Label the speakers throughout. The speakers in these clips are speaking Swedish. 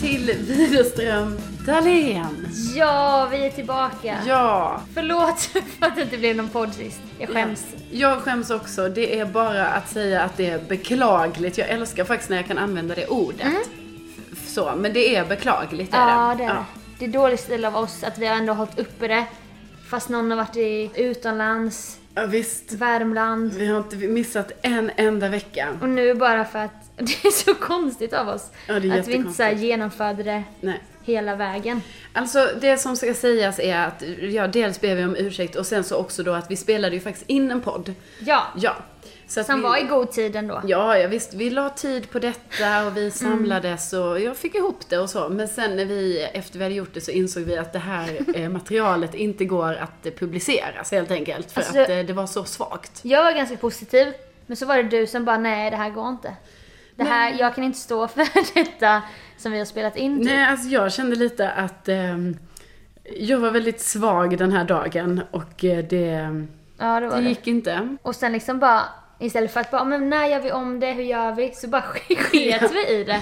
Speaker 1: till Widerström Dahlén.
Speaker 2: Ja, vi är tillbaka.
Speaker 1: Ja,
Speaker 2: Förlåt för att det inte blev någon podd sist. Jag skäms.
Speaker 1: jag skäms också. Det är bara att säga att det är beklagligt. Jag älskar faktiskt när jag kan använda det ordet. F- Så, men det är beklagligt. är
Speaker 2: Mm. Ja, det är det. Det är dålig stil av oss att vi har ändå hållit uppe det. Fast någon har varit i utomlands,
Speaker 1: Ja, visst.
Speaker 2: Värmland.
Speaker 1: Vi har inte missat en enda vecka.
Speaker 2: Och nu bara för att det är så konstigt av oss.
Speaker 1: Ja, det är
Speaker 2: att vi inte så här genomförde det
Speaker 1: Nej.
Speaker 2: hela vägen.
Speaker 1: Alltså det som ska sägas är att, ja dels ber vi om ursäkt och sen så också då att vi spelade ju faktiskt in en podd.
Speaker 2: Ja,
Speaker 1: Ja. Så att
Speaker 2: som
Speaker 1: vi,
Speaker 2: var i god tid ändå.
Speaker 1: Ja, ja, visst. Vi la tid på detta och vi samlades och jag fick ihop det och så. Men sen när vi, efter vi hade gjort det så insåg vi att det här eh, materialet inte går att eh, publiceras helt enkelt. För
Speaker 2: Alltså,
Speaker 1: att eh, det var så svagt.
Speaker 2: Jag var ganska positiv, men så var det du som bara nej, det här går inte. Det här, jag kan inte stå för detta som vi har spelat in. typ.
Speaker 1: Nej, alltså jag kände lite att ehm, jag var väldigt svag den här dagen och eh, det,
Speaker 2: Ja, det var
Speaker 1: det
Speaker 2: det.
Speaker 1: gick inte.
Speaker 2: Och sen liksom bara, istället för att bara, men när gör vi om det, hur gör vi? Så bara sket vi i det.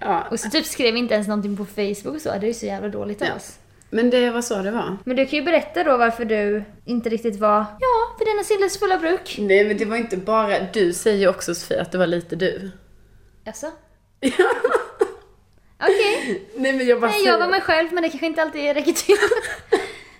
Speaker 1: Ja.
Speaker 2: Och så typ skrev vi inte ens någonting på Facebook och så, det är ju så jävla dåligt av
Speaker 1: Ja.
Speaker 2: oss.
Speaker 1: Men det var så det var.
Speaker 2: Men du kan ju berätta då varför du inte riktigt var, ja, för denna silles fulla bruk.
Speaker 1: Nej men det var inte bara, du säger ju också Sofia att det var lite du.
Speaker 2: Jaså? Okej.
Speaker 1: Nej men jag bara
Speaker 2: Nej,
Speaker 1: säger-
Speaker 2: jag var mig själv men det kanske inte alltid räcker till.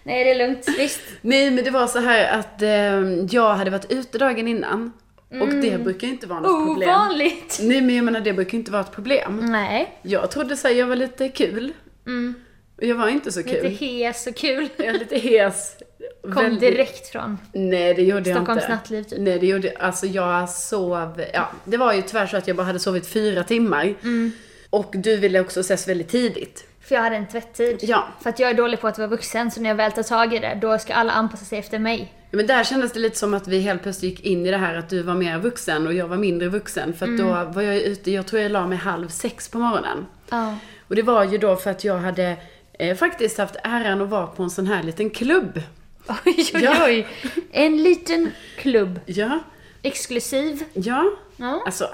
Speaker 2: Nej, det är lugnt. Visst.
Speaker 1: Nej men det var så här att eh, jag hade varit ute dagen innan. Och det brukar ju inte vara något problem.
Speaker 2: Mm. Ovanligt.
Speaker 1: Nej men jag menar det brukar ju inte vara ett problem.
Speaker 2: Nej.
Speaker 1: Jag trodde såhär, jag var lite kul.
Speaker 2: Mm.
Speaker 1: Och jag var inte så kul.
Speaker 2: Lite hes och kul.
Speaker 1: Jag är lite hes.
Speaker 2: Kom
Speaker 1: Väldigt-
Speaker 2: direkt från.
Speaker 1: Nej det gjorde
Speaker 2: Stockholms
Speaker 1: jag inte.
Speaker 2: nattliv, typ.
Speaker 1: Nej det gjorde alltså jag sov, ja det var ju tyvärr så att jag bara hade sovit fyra timmar.
Speaker 2: Mm.
Speaker 1: Och du ville också ses väldigt tidigt.
Speaker 2: För jag hade en tvätttid.
Speaker 1: Ja.
Speaker 2: För att jag är dålig på att vara vuxen, så när jag väl tar tag i det, då ska alla anpassa sig efter mig.
Speaker 1: Ja, Men där kändes det lite som att vi helt plötsligt gick in i det här att du var mer vuxen och jag var mindre vuxen. För att
Speaker 2: Mm.
Speaker 1: då var jag ju ute, jag tror jag la mig halv sex på morgonen.
Speaker 2: Ja.
Speaker 1: Och det var ju då för att jag hade eh, faktiskt haft äran att vara på en sån här liten klubb.
Speaker 2: Oj, oj,
Speaker 1: Ja.
Speaker 2: oj. En liten klubb.
Speaker 1: Ja,
Speaker 2: Exklusiv.
Speaker 1: ja.
Speaker 2: Ja.
Speaker 1: Alltså,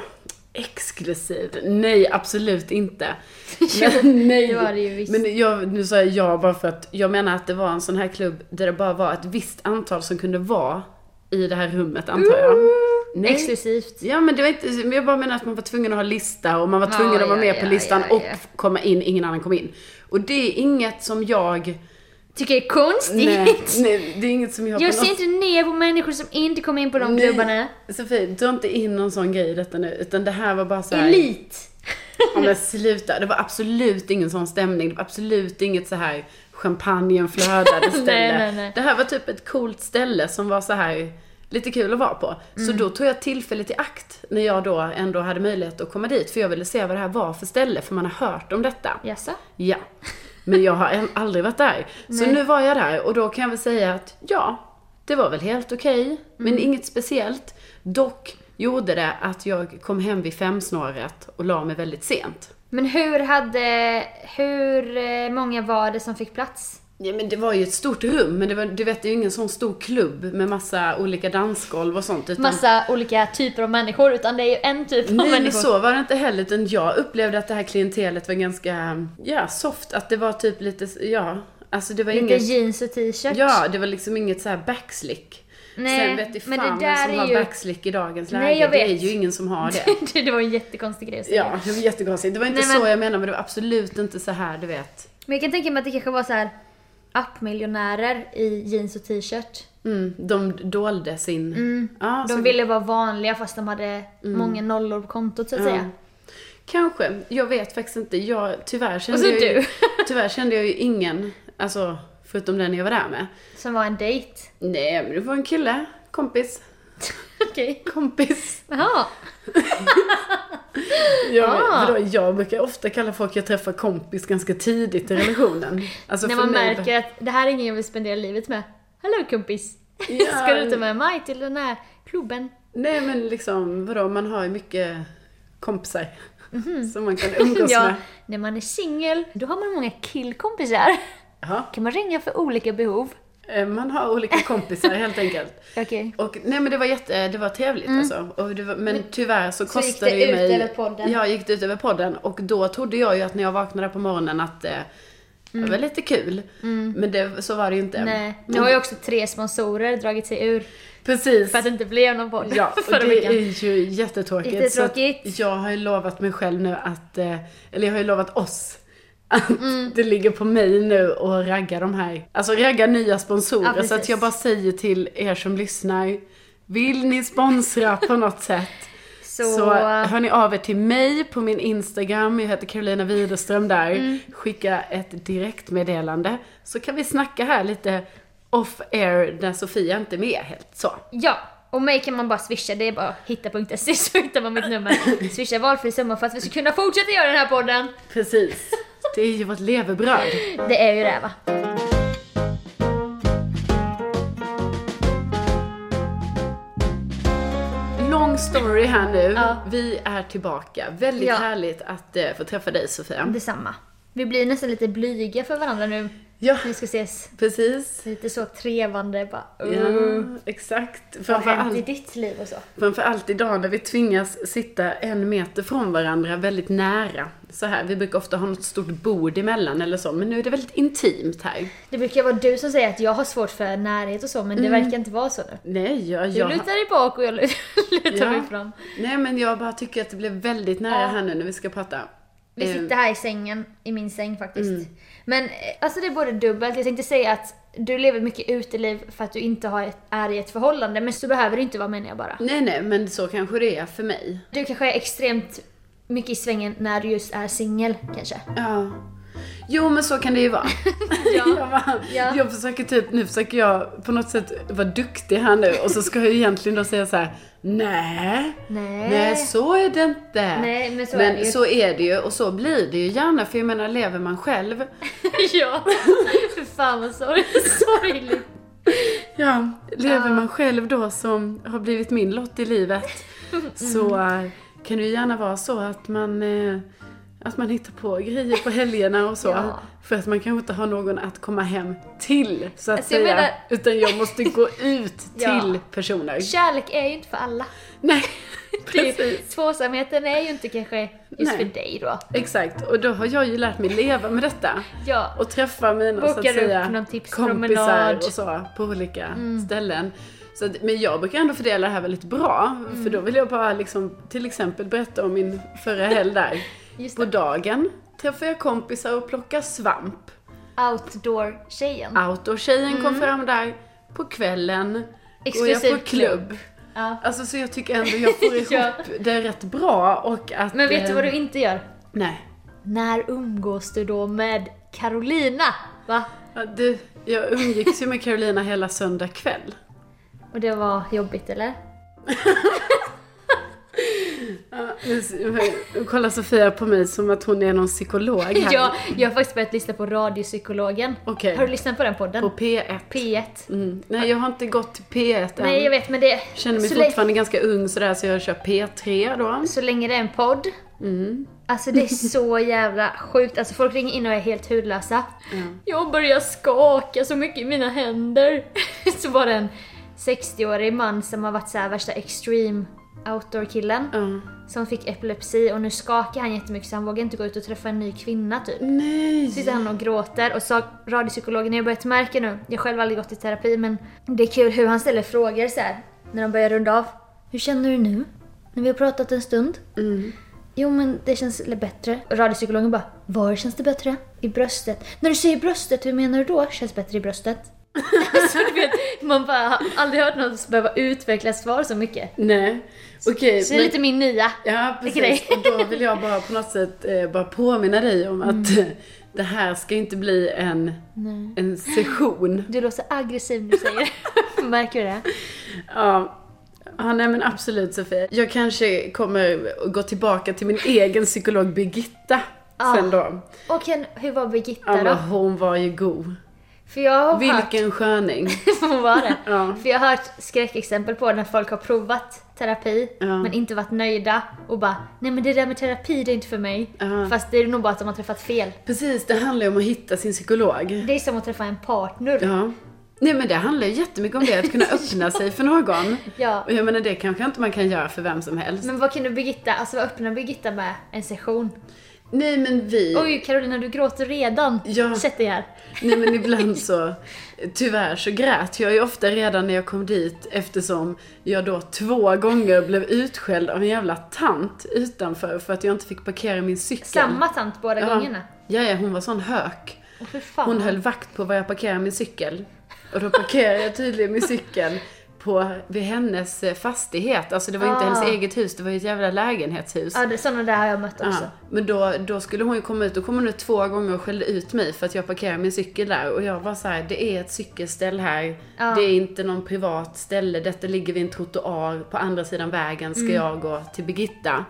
Speaker 1: exklusiv. Nej, absolut inte. Men, nej.
Speaker 2: det var det ju visst.
Speaker 1: Men jag, nu sa jag ja bara för att jag menar att det var en sån här klubb där det bara var ett visst antal som kunde vara i det här rummet antar jag.
Speaker 2: Mm.
Speaker 1: Nej.
Speaker 2: Exklusivt.
Speaker 1: Ja men det var inte, men jag bara menar att man var tvungen att ha lista och man var
Speaker 2: Ja,
Speaker 1: tvungen att vara
Speaker 2: ja,
Speaker 1: med på
Speaker 2: ja,
Speaker 1: listan
Speaker 2: ja,
Speaker 1: och
Speaker 2: ja.
Speaker 1: komma in, ingen annan kom in. Och det är inget som jag...
Speaker 2: Tycker det är konstigt.
Speaker 1: Nej, nej det är inget som jag... på
Speaker 2: Jag ser
Speaker 1: något-
Speaker 2: inte ner på människor som inte kommer in på de
Speaker 1: Nej.
Speaker 2: klubbarna.
Speaker 1: Sofie, dra inte in någon sån grej i detta nu, utan det här var bara såhär...
Speaker 2: Elit.
Speaker 1: Ja men sluta, det var absolut ingen sån stämning, det var absolut inget så här champagnen flödade ställe.
Speaker 2: Nej, nej, nej.
Speaker 1: Det här var typ ett coolt ställe som var så här lite kul att vara på. Så
Speaker 2: Mm.
Speaker 1: då tog jag tillfället i akt när jag då ändå hade möjlighet att komma dit, för jag ville se vad det här var för ställe, för man har hört om detta.
Speaker 2: Jaså?
Speaker 1: Ja. Men jag har än aldrig varit där. Så
Speaker 2: Nej.
Speaker 1: nu var jag där och då kan jag väl säga att ja, det var väl helt okej. Men
Speaker 2: Mm.
Speaker 1: inget speciellt. Dock gjorde det att jag kom hem vid femsnåret och la mig väldigt sent.
Speaker 2: Men hur hade... Hur eh, många var det som fick plats?
Speaker 1: Ja men det var ju ett stort rum, men det var, du vet det är ju ingen sån stor klubb med massa olika dansgolv och sånt. Utan,
Speaker 2: Massa olika typer av människor, utan det är ju en typ av
Speaker 1: Mm. nej men
Speaker 2: människor.
Speaker 1: så var det inte heller, utan jag upplevde att det här klientelet var ganska, ja soft, att det var typ lite, ja, alltså det var
Speaker 2: Lite
Speaker 1: inget...
Speaker 2: jeans och t-shirt.
Speaker 1: Ja, det var liksom inget så här backslick.
Speaker 2: Nej,
Speaker 1: Sen vet i
Speaker 2: men det
Speaker 1: fan
Speaker 2: där
Speaker 1: vem som
Speaker 2: är
Speaker 1: har
Speaker 2: ju-
Speaker 1: backslick i dagens läge.
Speaker 2: Nej, jag
Speaker 1: Det är
Speaker 2: vet.
Speaker 1: ju ingen som har det.
Speaker 2: det, det var en jättekonstig grej att säga.
Speaker 1: Ja, det var jättekonstigt. Det var inte
Speaker 2: Nej, men-
Speaker 1: så jag menade, men det var absolut inte så här, du vet.
Speaker 2: Men jag kan tänka mig att det kanske var så här appmiljonärer i jeans och t-shirt.
Speaker 1: Mm, de dolde sin... Ja, så-
Speaker 2: Mm, De ville vara vanliga fast de hade
Speaker 1: Mm.
Speaker 2: många nollor på kontot så att
Speaker 1: Ja.
Speaker 2: säga.
Speaker 1: Kanske. Jag vet faktiskt inte. Jag, tyvärr kände
Speaker 2: Och så
Speaker 1: jag ju...
Speaker 2: du.
Speaker 1: tyvärr kände jag ju ingen, alltså, förutom den jag var där med.
Speaker 2: Som var en dejt.
Speaker 1: Nej, men det var en kille. Kompis.
Speaker 2: Okej.
Speaker 1: Kompis.
Speaker 2: Jaha.
Speaker 1: Jag,
Speaker 2: Ah.
Speaker 1: vadå, jag brukar ofta kalla folk jag träffar kompis ganska tidigt i relationen. Alltså
Speaker 2: När
Speaker 1: för
Speaker 2: man
Speaker 1: mig-
Speaker 2: märker att det här är ingen jag vill spendera livet med. Hallå kompis!
Speaker 1: Ja.
Speaker 2: Ska du inte med mig till den här klubben?
Speaker 1: Nej men liksom, vadå, man har ju mycket kompisar. Som man kan umgås
Speaker 2: Mhm. Ja,
Speaker 1: med.
Speaker 2: när man är singel, då har man många killkompisar.
Speaker 1: Jaha.
Speaker 2: kan man ringa för olika behov.
Speaker 1: Eh, Man har olika kompisar helt enkelt.
Speaker 2: Okej.
Speaker 1: Och, nej men det var jätte, det var trevligt alltså. Och det var, men tyvärr så
Speaker 3: gick det
Speaker 1: kostade ju
Speaker 3: ut
Speaker 1: mig...
Speaker 3: över podden.
Speaker 1: Ja, gick det ut över podden. Och då trodde jag ju att när jag vaknade på morgonen att eh, det var lite kul. Men det, så var det ju inte.
Speaker 2: Nej. Nu har ju också tre sponsorer dragit sig ur
Speaker 1: Precis.
Speaker 2: för att det inte blev någon podd
Speaker 1: Ja, och
Speaker 2: förra
Speaker 1: det
Speaker 2: veckan.
Speaker 1: är ju jättetråkigt. Så
Speaker 2: Jättetråkigt.
Speaker 1: att jag har ju lovat mig själv nu att, eh, eller jag har ju lovat oss att
Speaker 2: Mm.
Speaker 1: det ligger på mig nu och ragga de här, alltså ragga nya
Speaker 2: Ja,
Speaker 1: sponsorer.
Speaker 2: precis.
Speaker 1: så att jag bara säger till er som lyssnar, vill ni sponsra på något sätt?
Speaker 2: Så,
Speaker 1: Så hör ni av er till mig på min Instagram, jag heter Carolina Widerström där.
Speaker 2: Mm.
Speaker 1: Skicka ett direktmeddelande så kan vi snacka här lite off air när Sofia inte är med helt så.
Speaker 2: ja. Och mig kan man bara swisha, det är bara hitta.se E, så hittar man mitt nummer. Swisha valfri summa för att vi ska kunna fortsätta göra den här podden.
Speaker 1: Precis. Det är ju vårt levebröd.
Speaker 2: Det är ju det va.
Speaker 1: Long story här nu.
Speaker 2: Ja.
Speaker 1: Vi är tillbaka. Väldigt
Speaker 2: Ja.
Speaker 1: härligt att eh, få träffa dig Sofia.
Speaker 2: Detsamma. Vi blir nästan lite blyga för varandra nu.
Speaker 1: Ja,
Speaker 2: Vi ska ses
Speaker 1: precis.
Speaker 2: lite så trevande bara.
Speaker 1: Ja,
Speaker 2: "Åh,
Speaker 1: exakt.
Speaker 3: Vad har hänt i
Speaker 1: Framförallt,
Speaker 3: ditt liv och så?
Speaker 1: framförallt idag när vi tvingas sitta en meter från varandra, väldigt nära. Så här, vi brukar ofta ha något stort bord emellan eller så, men nu är det väldigt intimt här.
Speaker 2: Det brukar vara du som säger att jag har svårt för närhet och så, men det verkar inte vara så nu.
Speaker 1: Nej, jag,
Speaker 2: Du
Speaker 1: Mm. jag,
Speaker 2: lutar dig bak och jag lut- lutar
Speaker 1: Ja.
Speaker 2: mig fram.
Speaker 1: nej men jag bara tycker att det blev väldigt nära här nu när vi ska prata.
Speaker 2: Vi
Speaker 1: Eh,
Speaker 2: sitter här i sängen, i min säng faktiskt.
Speaker 1: Mm.
Speaker 2: Men eh, alltså det är både dubbelt, jag tänkte säga att du lever mycket uteliv för att du inte har ett, är i ett förhållande, men så behöver det inte vara menar jag bara.
Speaker 1: Nej, nej, men så kanske det är för mig.
Speaker 2: Du kanske är extremt mycket i svängen när du just är singel kanske.
Speaker 1: Ja. Jo men så kan det ju vara. jag, bara,
Speaker 2: Ja.
Speaker 1: jag försöker typ, nu försöker jag på något sätt vara duktig här nu och så ska jag ju egentligen då säga så här: nej,
Speaker 2: Nej.
Speaker 1: nej så är det inte.
Speaker 2: Nej, men så är det ju.
Speaker 1: så är det ju och så blir det ju gärna för jag menar lever man själv.
Speaker 2: ja, för fan vad sorg- sorgligt.
Speaker 1: Ja, lever man själv då som har blivit min lott i livet så
Speaker 2: Mm.
Speaker 1: eh, kan det ju gärna vara så att man eh, att man hittar på grejer på helgerna och så.
Speaker 2: Ja.
Speaker 1: För att man kanske inte har någon att komma hem till, så att
Speaker 2: Alltså, jag
Speaker 1: säga.
Speaker 2: menar-
Speaker 1: Utan jag måste gå ut
Speaker 2: Ja.
Speaker 1: till personer.
Speaker 2: Kärlek är ju inte för alla.
Speaker 1: Nej,
Speaker 2: Det-
Speaker 1: precis.
Speaker 2: Tvåsamheten är ju inte kanske just
Speaker 1: Nej.
Speaker 2: för dig då.
Speaker 1: Exakt, och då har jag ju lärt mig leva med detta.
Speaker 2: Ja,
Speaker 1: Och träffa mina så att
Speaker 2: Bokar upp
Speaker 1: säga,
Speaker 2: någon tipspromenad. Mm.
Speaker 1: kompisar och så på olika ställen. Så att, men jag brukar ändå fördela det här väldigt bra.
Speaker 2: Mm.
Speaker 1: För då vill jag bara liksom, till exempel berätta om min förra helg där.
Speaker 2: Just
Speaker 1: på dagen träffade jag kompisar och plockade svamp.
Speaker 2: outdoor-tjejen.
Speaker 1: Outdoor-tjejen kom fram där. På kvällen går jag
Speaker 2: Mm. Exklusiv
Speaker 1: på klubb.
Speaker 2: Ja.
Speaker 1: Alltså så jag tycker ändå jag får ihop
Speaker 2: Ja.
Speaker 1: det rätt bra och att...
Speaker 2: Men vet du vad
Speaker 1: eh,
Speaker 2: du inte gör?
Speaker 1: Nej.
Speaker 2: När umgås du då med Carolina? Va?
Speaker 1: Ja, Du, jag umgicks ju med Carolina hela söndag kväll.
Speaker 2: Och det var jobbigt eller?
Speaker 1: Nu kollar Sofia på mig som att hon är någon psykolog här.
Speaker 2: Jag, jag har faktiskt börjat lyssna på Radiopsykologen.
Speaker 1: Okej.
Speaker 2: Har du lyssnat på den podden?
Speaker 1: På P1.
Speaker 2: P1.
Speaker 1: Mm. Nej, jag har inte gått till P1 än.
Speaker 2: Nej jag vet men det...
Speaker 1: Känner mig
Speaker 2: så, länge,
Speaker 1: fortfarande ganska ung sådär, så jag kör P3 då.
Speaker 2: så länge det är en podd.
Speaker 1: Mm.
Speaker 2: Alltså det är så jävla sjukt. Alltså folk ringer in och är helt hudlösa. Jag börjar skaka så mycket i mina händer. så var det en 60-årig man som har varit så här värsta extreme outdoor-killen.
Speaker 1: Ja.
Speaker 2: som fick epilepsi och nu skakar han jättemycket så han vågar inte gå ut och träffa en ny kvinna typ.
Speaker 1: Nej!
Speaker 2: Sitter han och gråter och sa radiopsykologen, jag har börjat märka nu, jag har själv aldrig gått i terapi men det är kul hur han ställer frågor så här när de börjar runda av. Hur känner du nu? När vi har pratat en stund?
Speaker 1: Mm.
Speaker 2: Jo men det känns lite bättre. Och radiopsykologen bara, var känns det bättre? I bröstet. När du säger bröstet, hur menar du då? Känns bättre i bröstet? så du vet, man bara har aldrig hört någon behöva utveckla svar så mycket.
Speaker 1: Nej. Okej,
Speaker 2: Så det är
Speaker 1: men-
Speaker 2: lite min nya.
Speaker 1: Ja,
Speaker 2: grej.
Speaker 1: precis. Och då vill jag bara på något sätt eh, bara påminna dig om att eh,
Speaker 2: Mm.
Speaker 1: det här ska inte bli en, en session.
Speaker 2: Du låter aggressiv när du säger det. Märker du det?
Speaker 1: Ja. ja, nej men absolut Sofia. Jag kanske kommer att gå tillbaka till min egen psykolog Birgitta
Speaker 2: Ah.
Speaker 1: sen då.
Speaker 2: Och Ken, hur var Birgitta
Speaker 1: Ja, men
Speaker 2: då?
Speaker 1: hon var ju god.
Speaker 2: För jag har hört...
Speaker 1: Vilken sköning.
Speaker 2: Hon var det.
Speaker 1: Ja.
Speaker 2: För jag har hört skräckexempel på när folk har provat terapi
Speaker 1: Ja.
Speaker 2: men inte varit nöjda och bara Nej men det där med terapi det är inte för mig.
Speaker 1: Ja.
Speaker 2: Fast det är nog bara att de har träffat fel.
Speaker 1: Precis, det handlar ju om att hitta sin psykolog.
Speaker 2: Det är som att träffa en partner.
Speaker 1: Ja. Nej men det handlar ju jättemycket om det, att kunna öppna sig för någon.
Speaker 2: Ja.
Speaker 1: Och jag menar det kanske inte man kan göra för vem som helst.
Speaker 2: Men vad kunde Birgitta, alltså vad öppnar Birgitta med en session?
Speaker 1: Nej men vi...
Speaker 2: Oj Carolina, du gråter redan.
Speaker 1: Ja.
Speaker 2: Sätt dig här.
Speaker 1: Nej men ibland så, tyvärr så grät jag ju ofta redan när jag kom dit eftersom jag då två gånger blev utskälld av en jävla tant utanför för att jag inte fick parkera min cykel.
Speaker 2: Samma tant båda gångerna.
Speaker 1: Ja, ja, hon var sån hök.
Speaker 2: Åh för fan.
Speaker 1: Hon höll vakt på var jag parkerade min cykel. Och då parkerade jag tydligen min cykel på, vid hennes eh, fastighet. Alltså det var ju inte
Speaker 2: Ah.
Speaker 1: hennes eget hus, det var ju ett jävla lägenhetshus.
Speaker 2: Ja, det, sådana där har jag mött
Speaker 1: Ja,
Speaker 2: också.
Speaker 1: men då, då skulle hon ju komma ut, och kom hon ut två gånger och skällde ut mig för att jag parkerade min cykel där. Och jag var så här: det är ett cykelställ här.
Speaker 2: Ja.
Speaker 1: Det är inte någon privat ställe. Detta ligger vid en trottoar. På andra sidan vägen ska jag gå till Birgitta.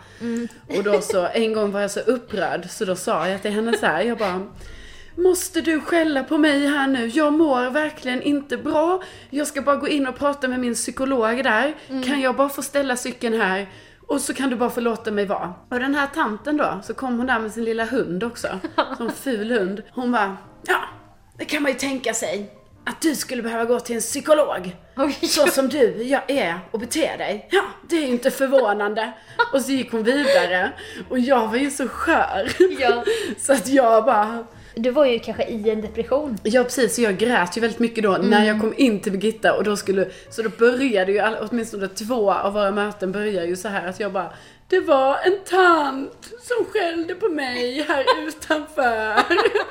Speaker 1: Och då så, en gång var jag så upprörd så då sa jag till henne så här, jag bara Måste du skälla på mig här nu? Jag mår verkligen inte bra. Jag ska bara gå in och prata med min psykolog där. Kan jag bara få ställa cykeln här? Och så kan du bara få låta mig vara. Och den här tanten då, så kom hon där med sin lilla hund också. Som ful hund. Hon bara, ja, det kan man ju tänka sig. Att du skulle behöva gå till en psykolog.
Speaker 2: Oj.
Speaker 1: Så som du jag är och beter dig. Ja, det är ju inte förvånande. Och så gick hon vidare. Och jag var ju så skör.
Speaker 2: Ja.
Speaker 1: Så att jag bara,
Speaker 2: Du var ju kanske i en depression.
Speaker 1: Ja precis, så jag grät ju väldigt mycket då
Speaker 2: Mm.
Speaker 1: när jag kom in till Birgitta och då skulle, så då började ju all, åtminstone två av våra möten börjar ju så här att jag bara Det var en tant som skällde på mig här utanför.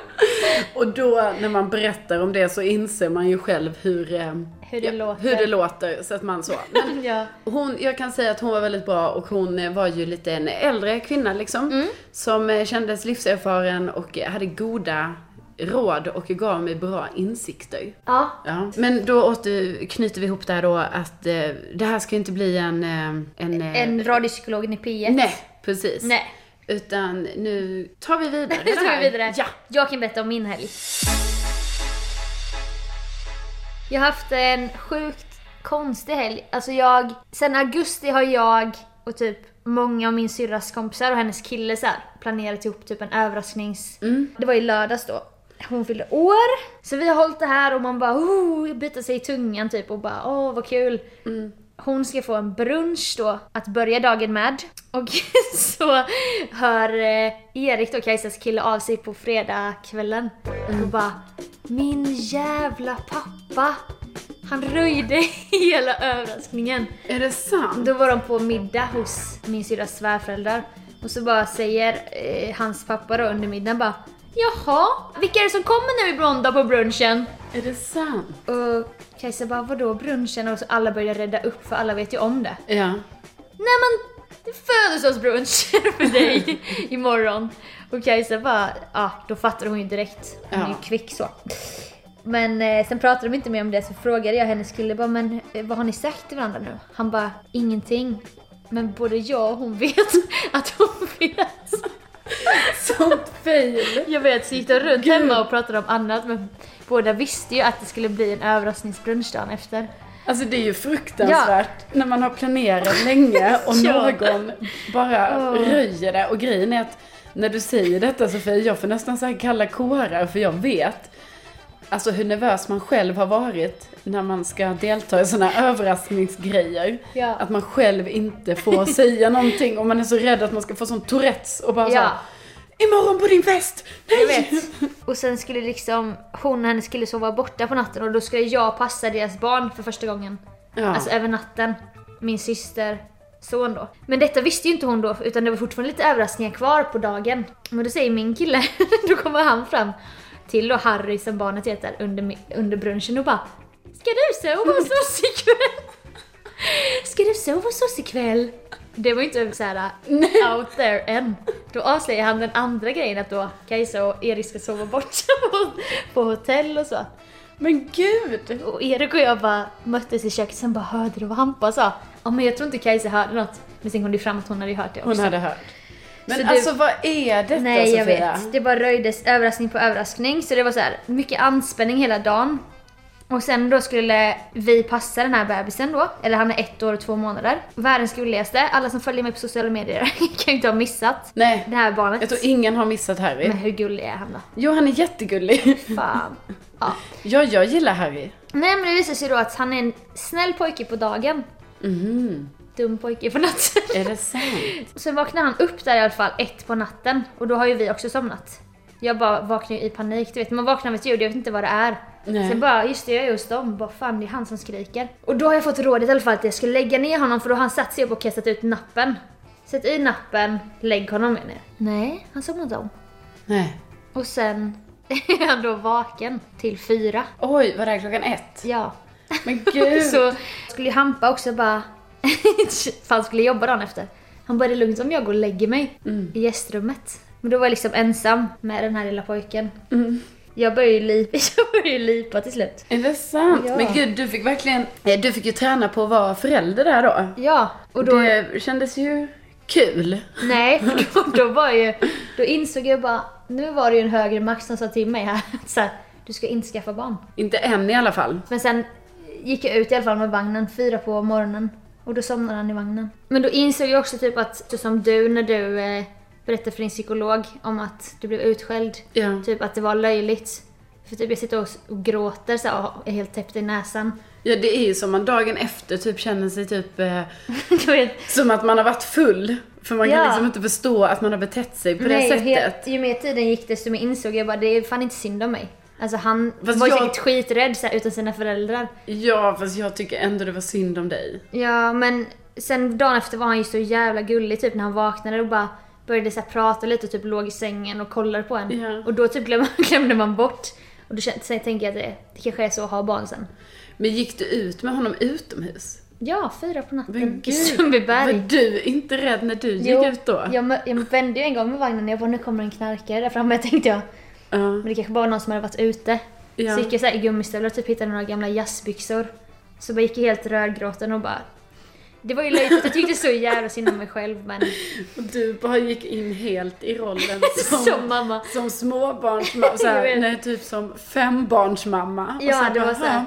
Speaker 1: och då när man berättar om det så inser man ju själv hur, eh,
Speaker 2: Hur det låter.
Speaker 1: hur det låter så att man så. Men
Speaker 2: Ja.
Speaker 1: hon, jag kan säga att hon var väldigt bra och hon eh, var ju lite en äldre kvinna liksom.
Speaker 2: Mm.
Speaker 1: Som eh, kändes livserfaren och eh, hade goda råd och gav mig bra insikter.
Speaker 2: Ja.
Speaker 1: Ja. Men då åter, knyter vi ihop det här då att eh, det här ska inte bli en... eh, En... eh,
Speaker 2: En radiopsykologen i P1.
Speaker 1: Nej, precis.
Speaker 2: Nej.
Speaker 1: Utan nu tar vi vidare
Speaker 2: Nu
Speaker 1: det
Speaker 2: tar
Speaker 1: här.
Speaker 2: vi vidare.
Speaker 1: Ja.
Speaker 2: Jag kan berätta om min helg. Jag har haft en sjukt konstig helg. Alltså jag, sen augusti har jag och typ många av min syrras kompisar och hennes kille så här, planerat ihop typ en överrasknings...
Speaker 1: Mm.
Speaker 2: Det var i lördags då. Hon fyllde år. Så vi har hållit det här och man bara oh, biter sig i tungan typ och bara åh vad kul.
Speaker 1: Mm.
Speaker 2: Hon ska få en brunch då att börja dagen med. Och så hör eh, Erik och Kajsas kille av sig på fredagskvällen och bara Min jävla pappa! Han röjde hela överraskningen.
Speaker 1: Är det sant?
Speaker 2: Då var de på middag hos min syrras svärföräldrar och så bara säger eh, hans pappa då under middagen bara Jaha, vilka är det som kommer nu i måndag på brunchen?
Speaker 1: Är det sant?
Speaker 2: Och Kajsa bara vadå brunchen? Och så alla börjar rädda upp för alla vet ju om det.
Speaker 1: Ja.
Speaker 2: Nej men det är födelsedagsbrunch för dig imorgon. Och Kajsa bara, ja då fattar hon ju direkt. Hon är ju
Speaker 1: Ja.
Speaker 2: kvick så. Men eh, sen pratade de inte mer om det så frågade jag hennes kille bara, men eh, vad har ni sagt till varandra nu? Han bara, ingenting. Men både jag och hon vet att hon vet.
Speaker 1: Sånt fail.
Speaker 2: Jag vet, så gick de runt hemma och pratade om annat men båda visste ju att det skulle bli en överraskningsbrunch dagen efter.
Speaker 1: Alltså det är ju fruktansvärt när man har planerat länge och
Speaker 2: Ja.
Speaker 1: någon bara
Speaker 2: Åh.
Speaker 1: röjer det. Och grejen är att när du säger detta Sofie, jag får nästan så här kalla kårar för jag vet alltså hur nervös man själv har varit när man ska delta i sådana överraskningsgrejer.
Speaker 2: Ja.
Speaker 1: Att man själv inte får säga någonting och man är så rädd att man ska få sån Tourettes och bara så här,
Speaker 2: Ja.
Speaker 1: Imorgon på din fest!
Speaker 2: Jag
Speaker 1: Nej!
Speaker 2: vet. Och sen skulle liksom hon och hennes kille sova borta på natten och då skulle jag passa deras barn för första gången.
Speaker 1: Ja.
Speaker 2: Alltså över natten. Min syster, son då. Men detta visste ju inte hon då utan det var fortfarande lite överraskningar kvar på dagen. Men då säger min kille, då kommer han fram till då Harry som barnet heter under, mi- under brunchen och bara Ska du sova hos oss ikväll? Ska du sova hos oss ikväll? Det var ju inte såhär out there än. Då avslöjar han den andra grejen att då Kajsa och Erik ska sova borta på, på hotell och så.
Speaker 1: Men gud!
Speaker 2: Och Erik och jag bara möttes i köket sen bara hörde du vad Hampa sa? Ja men jag tror inte Kajsa hörde något. Men sen kom det fram att hon hade ju hört det
Speaker 1: Hon alltså
Speaker 2: också.
Speaker 1: hade hört. Men
Speaker 2: Så du-
Speaker 1: alltså vad är detta
Speaker 2: Nej
Speaker 1: Sofia?
Speaker 2: jag vet. Det bara röjdes överraskning på överraskning. Så det var så här mycket anspänning hela dagen. Och sen då skulle vi passa den här bebisen då. Eller han är ett år och två månader. Världens gulligaste. Alla som följer mig på sociala medier kan ju inte ha missat
Speaker 1: Nej.
Speaker 2: det här barnet.
Speaker 1: Jag tror ingen har missat Harry.
Speaker 2: Men hur gullig är han då?
Speaker 1: Jo, han är jättegullig.
Speaker 2: Fan. Ja.
Speaker 1: Ja, jag gillar Harry.
Speaker 2: Nej men det visar sig då att han är en snäll pojke på dagen.
Speaker 1: Mhm.
Speaker 2: Dum pojke på natten.
Speaker 1: Är det sant?
Speaker 2: Sen vaknar han upp där i alla fall ett på natten och då har ju vi också somnat. Jag bara vaknar ju i panik, du vet man vaknar av ett ljud, jag vet inte vad det är.
Speaker 1: Nej.
Speaker 2: Sen bara, just det jag är hos dem, bara fan det är han som skriker. Och då har jag fått rådet i alla fall att jag ska lägga ner honom för då har han satt sig upp och kastat ut nappen. Sätt i nappen, lägg honom menar jag. Nej, han somnade om.
Speaker 1: Nej.
Speaker 2: Och sen är han då vaken till fyra.
Speaker 1: Oj, var det här klockan ett?
Speaker 2: Ja.
Speaker 1: Men gud!
Speaker 2: Så skulle ju Hampa också bara... för han skulle jobba dagen efter. Han bara, "Det är lugnt om jag går och lägger mig
Speaker 1: Mm.
Speaker 2: i gästrummet. Men då var jag liksom ensam med den här lilla pojken.
Speaker 1: Mm.
Speaker 2: Jag började ju lipa, jag började ju lipa till slut.
Speaker 1: Är det sant?
Speaker 2: Ja.
Speaker 1: Men gud, du fick verkligen... eh, Du fick ju träna på att vara förälder där då.
Speaker 2: Ja, och då...
Speaker 1: Det kändes ju kul.
Speaker 2: Nej, för då, då var ju... Då insåg jag bara, nu var det ju en högre makt som sa till mig här att så här, du ska inte skaffa barn.
Speaker 1: Inte än i alla fall.
Speaker 2: Men sen gick jag ut i alla fall med vagnen fyra på morgonen. Och då somnade han i vagnen. Men då insåg jag också typ att, så som du när du eh, berättade för din psykolog om att du blev utskälld.
Speaker 1: Ja.
Speaker 2: Typ att det var löjligt. För typ jag sitter och, och gråter så här, och är helt täppt i näsan.
Speaker 1: ja, det är ju som man dagen efter typ känner sig typ eh,
Speaker 2: Du vet,
Speaker 1: som att man har varit full. För man kan
Speaker 2: Ja.
Speaker 1: liksom inte förstå att man har betett sig på det
Speaker 2: nej, och
Speaker 1: sättet.
Speaker 2: helt, ju mer tiden gick desto mer insåg jag bara det är fan inte synd om mig. Alltså han
Speaker 1: Fast
Speaker 2: var ju
Speaker 1: jag-
Speaker 2: säkert skiträdd så här, utan sina föräldrar.
Speaker 1: Ja, fast jag tycker ändå det var synd om dig.
Speaker 2: Ja, men sen dagen efter var han ju så jävla gullig typ när han vaknade och bara började så här prata lite och typ låg i sängen och kollade på en.
Speaker 1: Ja.
Speaker 2: Och då typ glöm, glömde man bort. Och då kän- sen tänker jag att det, det kanske är så att ha barn sen.
Speaker 1: Men gick du ut med honom utomhus? Ja,
Speaker 2: fyra på
Speaker 1: Men
Speaker 2: natten i
Speaker 1: gud,
Speaker 2: Sundbyberg.
Speaker 1: Var du inte rädd när du gick ut då?
Speaker 2: jag, mö- jag vände ju en gång med vagnen och jag bara nu kommer en knarkare där framme tänkte jag.
Speaker 1: Ja.
Speaker 2: Men det kanske bara var någon som hade varit ute.
Speaker 1: Ja.
Speaker 2: Så gick jag så här i gummistövlar och typ hittade några gamla jazzbyxor. Så bara gick jag helt rödgråten och bara... Det var ju löjligt, jag tyckte så jävla synd om mig själv men...
Speaker 1: Och du bara gick in helt i rollen som,
Speaker 2: Som mamma.
Speaker 1: som småbarnsmamma, så här,
Speaker 2: Jag vet.
Speaker 1: nej typ som fembarnsmamma.
Speaker 2: Ja,
Speaker 1: sen
Speaker 2: det
Speaker 1: bara,
Speaker 2: var så här.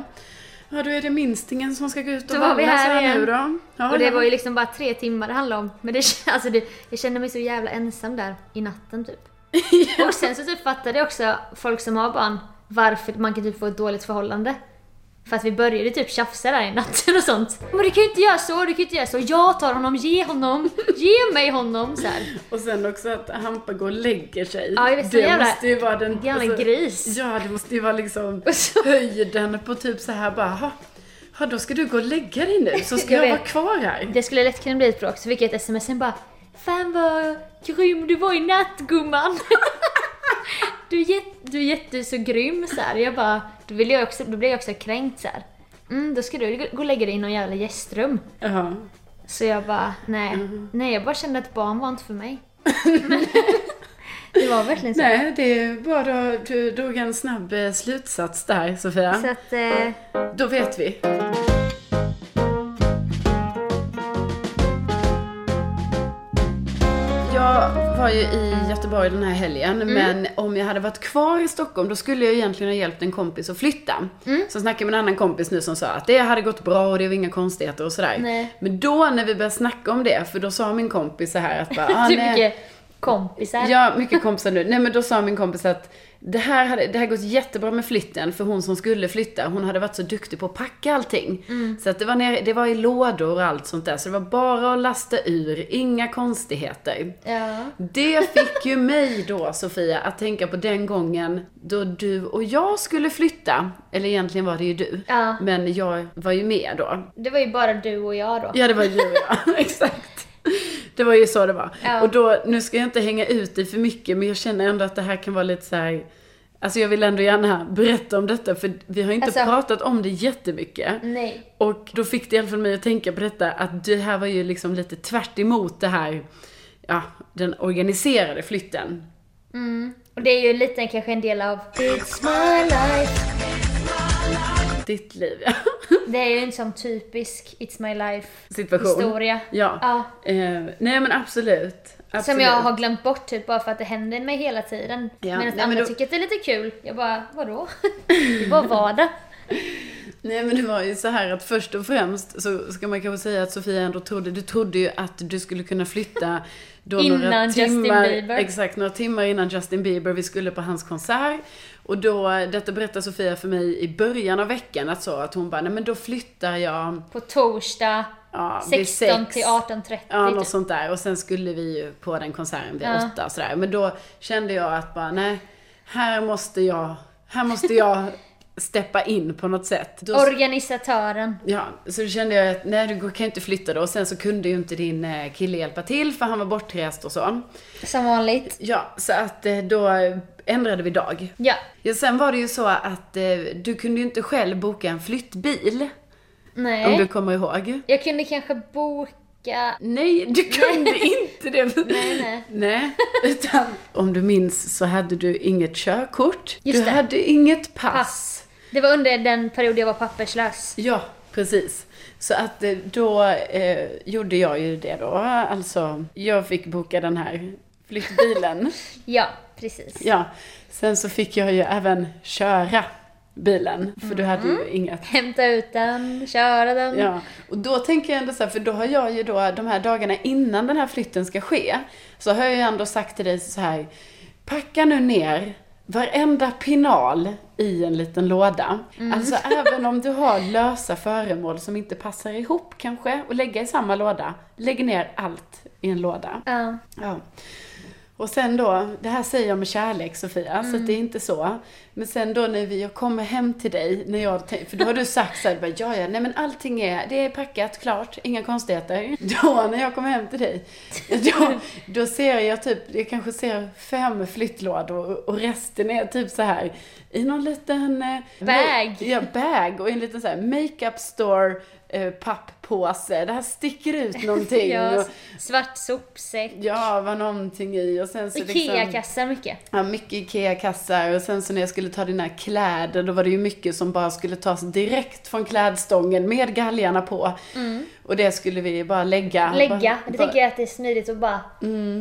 Speaker 1: Ja, ja, då är det minstingen som ska gå ut och
Speaker 2: Då var vi
Speaker 1: vandra
Speaker 2: här igen.
Speaker 1: nu då. Ja,
Speaker 2: Och det
Speaker 1: ja.
Speaker 2: var ju liksom bara tre timmar det handlade om. Men det, kän- alltså det, jag kände mig så jävla ensam där i natten typ. Och sen så typ fattade jag också folk som har barn varför man kan typ få ett dåligt förhållande. För att vi började typ tjafsa där i natten och sånt. Men du kan ju inte göra så, du kan ju inte göra så. Jag tar honom, ge honom, ge mig honom så här.
Speaker 1: Och sen också att Hampa går och lägger sig.
Speaker 2: Ja, jag vet,
Speaker 1: det
Speaker 2: så jävla-
Speaker 1: måste ju vara den... alltså,
Speaker 2: jävla gris.
Speaker 1: Ja, det måste ju vara liksom
Speaker 2: Och så-
Speaker 1: höjden på typ så här bara, "Ha, ja då ska du gå och lägga dig nu så ska
Speaker 2: Jag
Speaker 1: jag,
Speaker 2: vet.
Speaker 1: vara kvar här.
Speaker 2: Det skulle lätt kunna bli ett bråk, så fick jag ett sms sen bara Fan vad grym du var i natt gumman! du, är jätt, du är jätte så grym så här. Jag bara, då, vill jag också, då blev jag också kränkt så här. Mm, då ska du gå- gå och lägga dig i någon jävla gästrum.
Speaker 1: Ja.
Speaker 2: Så jag bara, nej.
Speaker 1: Mm.
Speaker 2: Nej, jag bara kände att barn var inte för mig. Men, det var verkligen så.
Speaker 1: Nej, det är bara då, du drog en snabb eh, slutsats där Sofia.
Speaker 2: Så att, eh,
Speaker 1: Då vet vi. Jag var ju i Göteborg den här helgen,
Speaker 2: Mm.
Speaker 1: men om jag hade varit kvar i Stockholm då skulle jag egentligen ha hjälpt en kompis att flytta.
Speaker 2: Mm.
Speaker 1: Så snackade jag med en annan kompis nu som sa att det hade gått bra och det var inga konstigheter och sådär.
Speaker 2: Nej.
Speaker 1: Men då när vi började snacka om det, för då sa min kompis så här att bara, ah,
Speaker 2: du
Speaker 1: nej.
Speaker 2: mycket kompisar.
Speaker 1: Ja, mycket kompisar nu. Nej men då sa min kompis att det här hade det här gått jättebra med flytten för hon som skulle flytta, hon hade varit så duktig på att packa allting. Så att det var, nere, det var i lådor och allt sånt där. Så det var bara att lasta ur, inga konstigheter.
Speaker 2: Ja.
Speaker 1: Det fick ju mig då Sofia att tänka på den gången då du och jag skulle flytta. Eller egentligen var det ju du.
Speaker 2: Ja.
Speaker 1: Men jag var ju med då.
Speaker 2: Det var ju bara du och jag då.
Speaker 1: Ja, det var ju du och jag. Exakt. Det var ju så det var.
Speaker 2: Ja.
Speaker 1: Och då, nu ska jag inte hänga ut dig för mycket, men jag känner ändå att det här kan vara lite så här. Alltså jag vill ändå gärna berätta om detta, för vi har inte
Speaker 2: Alltså-
Speaker 1: pratat om det jättemycket.
Speaker 2: Nej.
Speaker 1: Och då fick det i alla fall mig att tänka på detta, att det här var ju liksom lite tvärt emot det här, ja, den organiserade flytten.
Speaker 2: Mm. Och det är ju lite kanske en del av It's my life.
Speaker 1: Ditt liv, ja.
Speaker 2: Det är ju en sån typisk It's my life
Speaker 1: Situation.
Speaker 2: historia.
Speaker 1: Ja.
Speaker 2: Ja.
Speaker 1: Eh, nej men absolut. absolut.
Speaker 2: Som jag har glömt bort typ bara för att det händer mig hela tiden.
Speaker 1: Ja.
Speaker 2: Medan
Speaker 1: Nej, men
Speaker 2: andra
Speaker 1: då-
Speaker 2: tycker att det är lite kul. Jag bara, vadå? det är bara vardag.
Speaker 1: Nej men det var ju så här att först och främst så ska man kanske säga att Sofia ändå trodde, du trodde ju att du skulle kunna flytta då några
Speaker 2: Innan Justin
Speaker 1: timmar,
Speaker 2: Bieber.
Speaker 1: Exakt, några timmar innan Justin Bieber, vi skulle på hans konsert. Och då, detta berättade Sofia för mig i början av veckan att så, att hon bara, nej men då flyttar jag
Speaker 2: På torsdag
Speaker 1: ja, vid
Speaker 2: 16
Speaker 1: sex.
Speaker 2: till 18.30.
Speaker 1: Ja,
Speaker 2: typ.
Speaker 1: något sånt där. Och sen skulle vi ju på den konserten vid
Speaker 2: Ja.
Speaker 1: åtta och sådär. Men då kände jag att bara, nej, här måste jag, här måste jag steppa in på något sätt. Då,
Speaker 2: Organisatören.
Speaker 1: ja, så då kände jag att, nej du går- kan ju inte flytta då. Och sen så kunde ju inte din eh, kille hjälpa till för han var bortrest och så.
Speaker 2: Som vanligt.
Speaker 1: Ja, så att eh, då ändrade vi dag.
Speaker 2: Ja.
Speaker 1: Ja, sen var det ju så att eh, du kunde ju inte själv boka en flyttbil.
Speaker 2: Nej.
Speaker 1: Om du kommer ihåg.
Speaker 2: Jag kunde kanske boka...
Speaker 1: Nej, du kunde inte det.
Speaker 2: Nej, nej.
Speaker 1: Nej, utan om du minns så hade du inget körkort.
Speaker 2: Just
Speaker 1: du
Speaker 2: det.
Speaker 1: hade inget pass.
Speaker 2: Pass. Det var under den period jag var papperslös.
Speaker 1: Ja, precis. Så att eh, då eh, gjorde jag ju det då. Alltså, jag fick boka den här flyttbilen.
Speaker 2: Ja, precis.
Speaker 1: ja. Sen så fick jag ju även köra bilen. För du hade ju inga
Speaker 2: Hämta ut den, köra den.
Speaker 1: Ja, och då tänker jag ändå så här, för då har jag ju då de här dagarna innan den här flytten ska ske, så har jag ju ändå sagt till dig så här, packa nu ner varenda pinal i en liten låda. Alltså även om du har lösa föremål som inte passar ihop kanske, och lägga i samma låda, lägg ner allt i en låda.
Speaker 2: Ja.
Speaker 1: Ja. Och sen då, det här säger jag med kärlek Sofia,
Speaker 2: Mm.
Speaker 1: så att det är inte så. Men sen då när vi, jag kommer hem till dig, när jag, tänk- för då har du sagt såhär, bara, ja ja, nej men allting är, det är packat, klart, inga konstigheter. Då när jag kommer hem till dig, då, då ser jag typ, jag kanske ser fem flyttlådor och, och resten är typ så här i någon liten... eh,
Speaker 2: Bag.
Speaker 1: Ja, bag och en liten så här makeup store eh, papppåse. Det här sticker ut någonting.
Speaker 2: Ja,
Speaker 1: och,
Speaker 2: svart sopsäck.
Speaker 1: Ja, var någonting i och sen så liksom...
Speaker 2: Ikea-kassar mycket.
Speaker 1: Ja, mycket Ikea-kassar och sen så när jag skulle ta dina kläder då var det ju mycket som bara skulle tas direkt från klädstången med galgarna på. Och det skulle vi bara lägga.
Speaker 2: Mm. Lägga.
Speaker 1: Bara- Mm.
Speaker 2: Det
Speaker 1: bara-
Speaker 2: tycker jag att det är smidigt att bara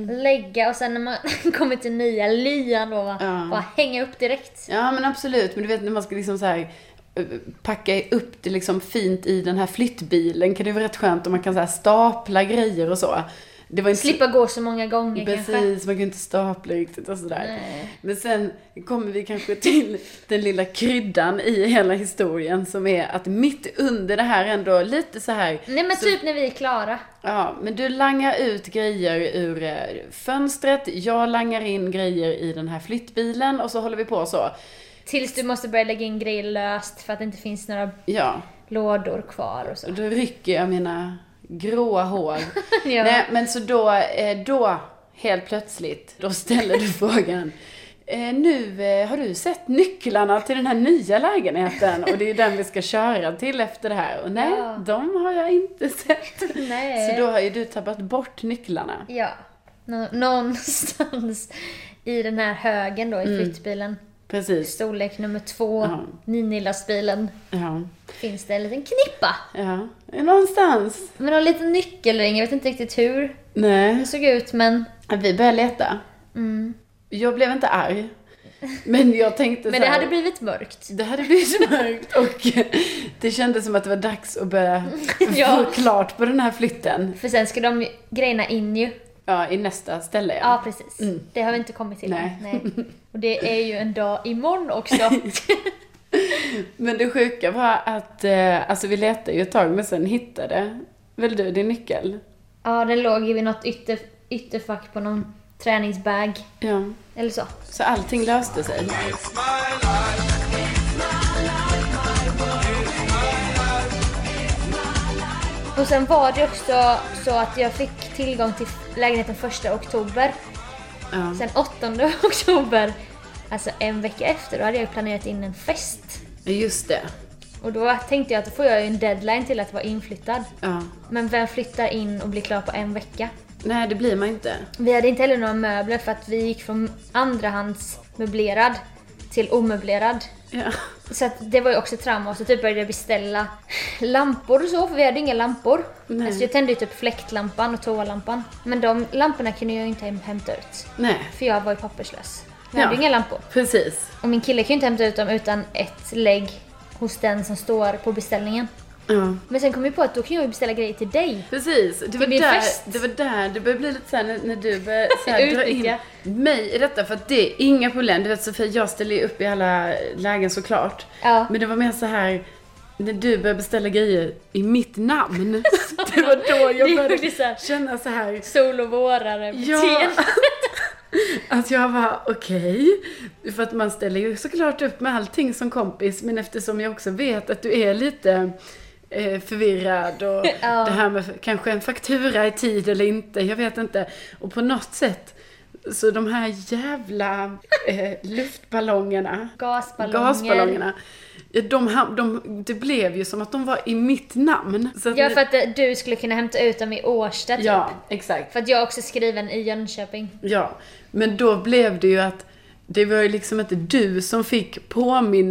Speaker 2: lägga och sen när man kommer till nya lyan då,
Speaker 1: Ja.
Speaker 2: bara hänga upp direkt.
Speaker 1: Ja men absolut, men du vet när man ska liksom så här eh, packa upp det liksom fint i den här flyttbilen kan det vara rätt skönt om man kan så här stapla grejer och så. Det var inte så-
Speaker 2: Slippa gå så många gånger kanske.
Speaker 1: Precis, man kan ju inte stapla riktigt och sådär.
Speaker 2: Nej.
Speaker 1: Men sen kommer vi kanske till den lilla kryddan i hela historien som är att mitt under det här ändå lite så här
Speaker 2: Nej men typ när vi är klara.
Speaker 1: Ja, men du langar ut grejer ur eh, fönstret, jag langar in grejer i den här flyttbilen och så håller vi på så.
Speaker 2: Tills du måste börja lägga in grejer löst för att det inte finns några
Speaker 1: Ja,
Speaker 2: lådor kvar och så.
Speaker 1: och då rycker jag mina gråa hår.
Speaker 2: Ja.
Speaker 1: Nej, men så då, eh, då, helt plötsligt, då ställer du frågan. eh, Nu eh, har du sett nycklarna till den här nya lägenheten och det är ju den vi ska köra till efter det här. Och nej,
Speaker 2: Ja.
Speaker 1: de har jag inte sett.
Speaker 2: Nej.
Speaker 1: Så då har ju du tappat bort nycklarna.
Speaker 2: Ja. Nå- någonstans i den här högen då i flyttbilen.
Speaker 1: Precis.
Speaker 2: Storlek nummer två,
Speaker 1: Mm. Ja.
Speaker 2: ninilastbilen,
Speaker 1: Ja.
Speaker 2: finns det en liten knippa.
Speaker 1: Ja. Någonstans.
Speaker 2: Men någon liten nyckelring, jag vet inte riktigt hur
Speaker 1: Nej.
Speaker 2: den såg ut men...
Speaker 1: Vi började leta.
Speaker 2: Mm.
Speaker 1: Jag blev inte arg. Men jag tänkte
Speaker 2: Men
Speaker 1: så
Speaker 2: det
Speaker 1: här-
Speaker 2: hade blivit mörkt.
Speaker 1: Det hade blivit mörkt och det kändes som att det var dags att börja
Speaker 2: Ja.
Speaker 1: få klart på den här flytten.
Speaker 2: För sen ska de ju- grejerna in ju.
Speaker 1: Ja, i nästa ställe
Speaker 2: Ja
Speaker 1: ja.
Speaker 2: precis. Det har vi inte kommit till
Speaker 1: Nej.
Speaker 2: än. Mm. Nej. Och det är ju en dag imorgon också.
Speaker 1: Men det sjuka var att, eh, alltså vi letade ju ett tag men sen hittade väl du din nyckel?
Speaker 2: ja, den låg ju vid något ytter, ytterfack på någon träningsbag.
Speaker 1: Ja.
Speaker 2: Eller så.
Speaker 1: Så allting löste sig.
Speaker 2: Och sen var det också så att jag fick tillgång till lägenheten 1 oktober.
Speaker 1: Ja.
Speaker 2: Sen 8 oktober, alltså en vecka efter, då hade jag ju planerat in en fest.
Speaker 1: Just det.
Speaker 2: Och då tänkte jag att då får jag ju en deadline till att vara inflyttad.
Speaker 1: Ja.
Speaker 2: Men vem flyttar in och blir klar på en vecka?
Speaker 1: Nej, det blir man inte.
Speaker 2: Vi hade inte heller några möbler för att vi gick från andrahandsmöblerad till omöblerad.
Speaker 1: Ja.
Speaker 2: Så att det var ju också ett trauma och så typ började jag beställa lampor och så för vi hade inga lampor.
Speaker 1: Nej.
Speaker 2: Alltså jag tände ju typ fläktlampan och toalampan. Men de lamporna kunde jag ju inte häm- hämta ut.
Speaker 1: Nej,
Speaker 2: För jag var ju papperslös. Jag
Speaker 1: Ja.
Speaker 2: hade ju inga lampor.
Speaker 1: precis.
Speaker 2: Och min kille kan ju inte hämta ut dem utan ett lägg hos den som står på beställningen.
Speaker 1: Ja.
Speaker 2: Men sen kom jag på att då kan jag ju beställa grejer till dig.
Speaker 1: Precis, det var,
Speaker 2: min
Speaker 1: där,
Speaker 2: fest.
Speaker 1: det var där det började bli lite såhär när, när du började så här, dra in
Speaker 2: Utnyttja.
Speaker 1: mig i detta för att det är inga problem. Du vet Sofia, jag ställer ju upp i alla lägen såklart.
Speaker 2: Ja.
Speaker 1: Men det var mer så här när du började beställa grejer i mitt namn. det var då
Speaker 2: Det
Speaker 1: jag
Speaker 2: är
Speaker 1: började
Speaker 2: faktiskt så här-
Speaker 1: känna så här
Speaker 2: Sol och vårare.
Speaker 1: Ja. Att Alltså jag var okej. För att man ställer ju såklart upp med allting som kompis. Men eftersom jag också vet att du är lite eh, förvirrad och
Speaker 2: Ja.
Speaker 1: det här med kanske en faktura i tid eller inte. Jag vet inte. Och på något sätt så de här jävla eh, luftballongerna,
Speaker 2: Gasballonger.
Speaker 1: gasballongerna, eh, de, ham- de, det blev ju som att de var i mitt namn. Så att
Speaker 2: Ja,
Speaker 1: ni-
Speaker 2: för att eh, du skulle kunna hämta ut dem i Årsta typ.
Speaker 1: ja, exakt.
Speaker 2: För att jag är också skriven i Jönköping.
Speaker 1: Ja, men då blev det ju att det var ju liksom inte du som fick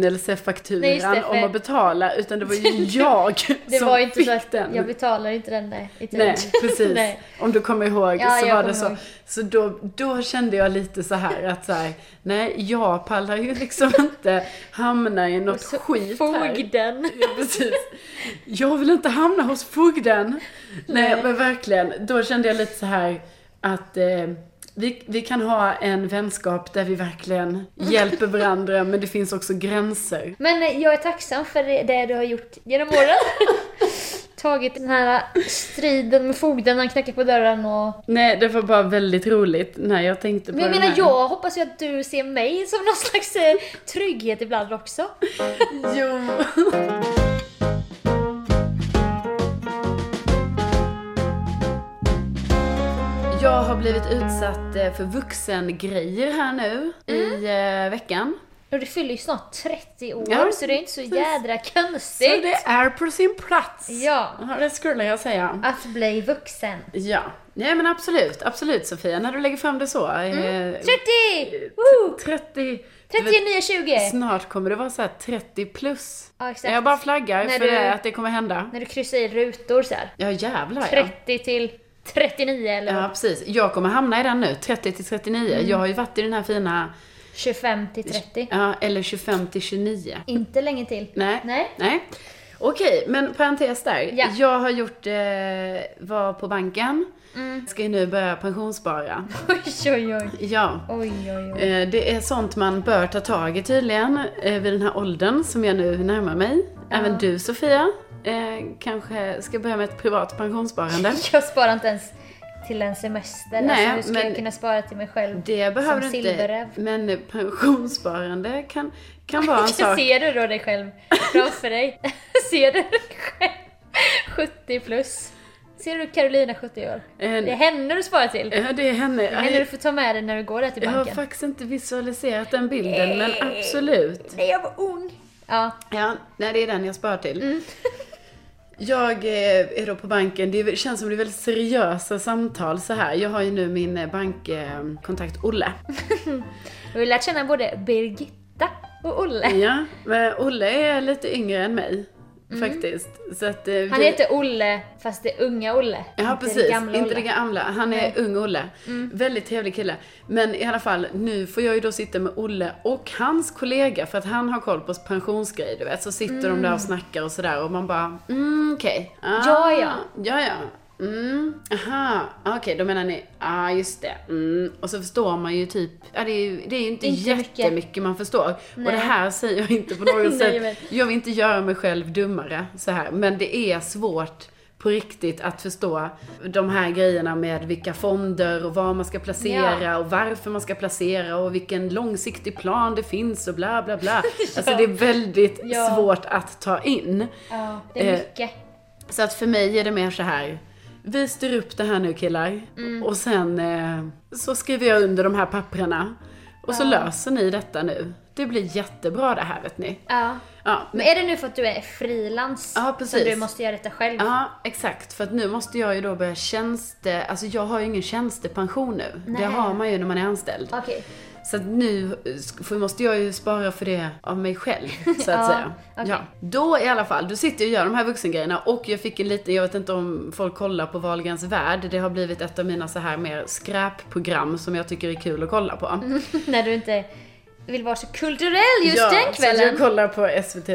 Speaker 2: Nej, just
Speaker 1: påminnelsefakturan
Speaker 2: det, för-
Speaker 1: om att betala, utan det var ju jag
Speaker 2: Det
Speaker 1: som
Speaker 2: var ju inte
Speaker 1: fick
Speaker 2: så att
Speaker 1: den.
Speaker 2: jag betalar inte den där i tid.
Speaker 1: Nej, precis.
Speaker 2: Nej.
Speaker 1: Om du kommer ihåg
Speaker 2: Ja,
Speaker 1: så
Speaker 2: jag
Speaker 1: var det
Speaker 2: kommer
Speaker 1: så.
Speaker 2: ihåg.
Speaker 1: Så då, då kände jag lite så här att så här, nej, jag pallar ju liksom inte hamna i något
Speaker 2: Så-
Speaker 1: skit här.
Speaker 2: Fogden.
Speaker 1: Ja, precis. Jag vill inte hamna hos fogden. Nej,
Speaker 2: Nej.
Speaker 1: men verkligen. Då kände jag lite så här att eh, vi, vi kan ha en vänskap där vi verkligen hjälper varandra, men det finns också gränser.
Speaker 2: Men eh, jag är tacksam för det- det du har gjort genom åren. Tagit den här striden med fogden, han knackar på dörren och...
Speaker 1: Nej, det var bara väldigt roligt när jag tänkte på
Speaker 2: Men jag
Speaker 1: den
Speaker 2: menar,
Speaker 1: här.
Speaker 2: jag hoppas ju att du ser mig som någon slags eh, trygghet ibland också.
Speaker 1: Jo. Jag har blivit utsatt eh, för vuxengrejer här nu i
Speaker 2: Mm.
Speaker 1: eh, veckan.
Speaker 2: Och du fyller ju snart 30 år,
Speaker 1: Ja,
Speaker 2: så det är inte så
Speaker 1: precis.
Speaker 2: jädra
Speaker 1: Så
Speaker 2: konstigt
Speaker 1: det är på sin plats.
Speaker 2: Ja.
Speaker 1: Det skulle jag säga.
Speaker 2: att bli vuxen.
Speaker 1: Ja. Nej men absolut, absolut Sofia, när du lägger fram det så. Mm.
Speaker 2: 30! Woo!
Speaker 1: 30. du
Speaker 2: 30
Speaker 1: vet,
Speaker 2: är 20!
Speaker 1: Snart kommer det vara så här 30 plus.
Speaker 2: Ja, exakt.
Speaker 1: Jag bara flaggar
Speaker 2: När
Speaker 1: för
Speaker 2: du-
Speaker 1: det, att det kommer hända.
Speaker 2: När du kryssar i rutor så här.
Speaker 1: Ja jävlar ja.
Speaker 2: 30 till 39 eller
Speaker 1: Ja precis. Jag kommer hamna i den nu, 30 till 39.
Speaker 2: Mm.
Speaker 1: Jag har ju varit i den här fina,
Speaker 2: 25 till 30.
Speaker 1: ja, eller 25 till 29.
Speaker 2: Inte länge till.
Speaker 1: Nej.
Speaker 2: Nej.
Speaker 1: Okej, men parentes där.
Speaker 2: Ja.
Speaker 1: Jag har gjort, eh, var på banken.
Speaker 2: Mm.
Speaker 1: Ska ju nu börja pensionsspara.
Speaker 2: Oj, oj, oj.
Speaker 1: Ja.
Speaker 2: Oj, oj, oj.
Speaker 1: Eh, Det är sånt man bör ta tag i tydligen eh, vid den här åldern som jag nu närmar mig. Även du Sofia eh, kanske ska börja med ett privat pensionssparande.
Speaker 2: Jag sparar inte ens till en semester.
Speaker 1: Nej,
Speaker 2: alltså, hur ska
Speaker 1: men-
Speaker 2: jag kunna spara till mig själv?
Speaker 1: Det behöver
Speaker 2: Som
Speaker 1: du inte.
Speaker 2: silverräv.
Speaker 1: Men pensionssparande kan, kan vara en sak.
Speaker 2: Ser du då dig själv framför dig? Ser du dig själv? 70 plus. Ser du Carolina 70 år?
Speaker 1: Eh,
Speaker 2: Det är henne du sparar till.
Speaker 1: eh, Det är henne.
Speaker 2: Det är henne du får ta med dig när du går där till
Speaker 1: Jag har
Speaker 2: banken.
Speaker 1: faktiskt inte visualiserat den bilden, men absolut.
Speaker 2: Nej, jag var ung. Ja.
Speaker 1: Ja, nej, det är den jag sparar till.
Speaker 2: Mm.
Speaker 1: Jag eh, är då på banken, det känns som det är väldigt seriösa samtal så här. Jag har ju nu min eh, bankkontakt eh, Olle.
Speaker 2: Och vi lärt känna både Birgitta och Olle.
Speaker 1: Ja, men Olle är lite yngre än mig faktiskt. Så att, eh,
Speaker 2: Mm. Han
Speaker 1: vi-
Speaker 2: heter Olle, fast det är unga Olle.
Speaker 1: Ja
Speaker 2: inte
Speaker 1: precis,
Speaker 2: Det gamla
Speaker 1: inte
Speaker 2: Olle. Mm.
Speaker 1: det gamla. Han är ung Olle. Väldigt trevlig kille. Men i alla fall, nu får jag ju då sitta med Olle och hans kollega för att han har koll på pensionsgrejer du vet. Så sitter de där och snackar och sådär och man bara, mm okej. Ah,
Speaker 2: Mm. Ja, ja.
Speaker 1: Ja ja. Mm, aha, okej då menar ni, ah just det. Mm. Och så förstår man ju typ, ja det är ju, det är ju inte,
Speaker 2: Inte mycket.
Speaker 1: jättemycket man förstår. Och
Speaker 2: Nej.
Speaker 1: det här säger jag inte på något
Speaker 2: Nej,
Speaker 1: sätt.
Speaker 2: jag vet.
Speaker 1: Jag vill inte göra mig själv dummare så här, men det är svårt på riktigt att förstå de här grejerna med vilka fonder och var man ska placera och varför man ska placera och vilken långsiktig plan det finns och bla bla bla. Alltså det är väldigt
Speaker 2: Ja.
Speaker 1: svårt att ta in.
Speaker 2: Ja, det
Speaker 1: Eh,
Speaker 2: är mycket.
Speaker 1: Så att för mig är det mer så här. Vi styr upp det här nu killar och sen eh, så skriver jag under de här papprena och så löser ni detta nu. Det blir jättebra det här vet ni.
Speaker 2: Ja.
Speaker 1: Ja, men-
Speaker 2: Men är det nu för att du är frilans?
Speaker 1: Ja,
Speaker 2: Så
Speaker 1: precis.
Speaker 2: du måste göra detta själv?
Speaker 1: Ja, exakt. För att nu måste jag ju då börja tjänste... Alltså jag har ju ingen tjänstepension nu.
Speaker 2: Nej.
Speaker 1: Det har man ju när man är anställd.
Speaker 2: Okej.
Speaker 1: Så att nu eh, sk- får- måste jag ju spara för det av mig själv, så att
Speaker 2: Ja,
Speaker 1: säga.
Speaker 2: okej.
Speaker 1: Ja. Då i alla fall, du sitter jag och gör de här vuxengrejerna och jag fick en liten, jag vet inte om folk kollar på Wahlgrens värld. Det har blivit ett av mina så här mer skräpprogram som jag tycker är kul att kolla på.
Speaker 2: När du inte vill vara så kulturell Mm, just
Speaker 1: ja,
Speaker 2: den
Speaker 1: Så att jag
Speaker 2: kvällen.
Speaker 1: kollar på SVT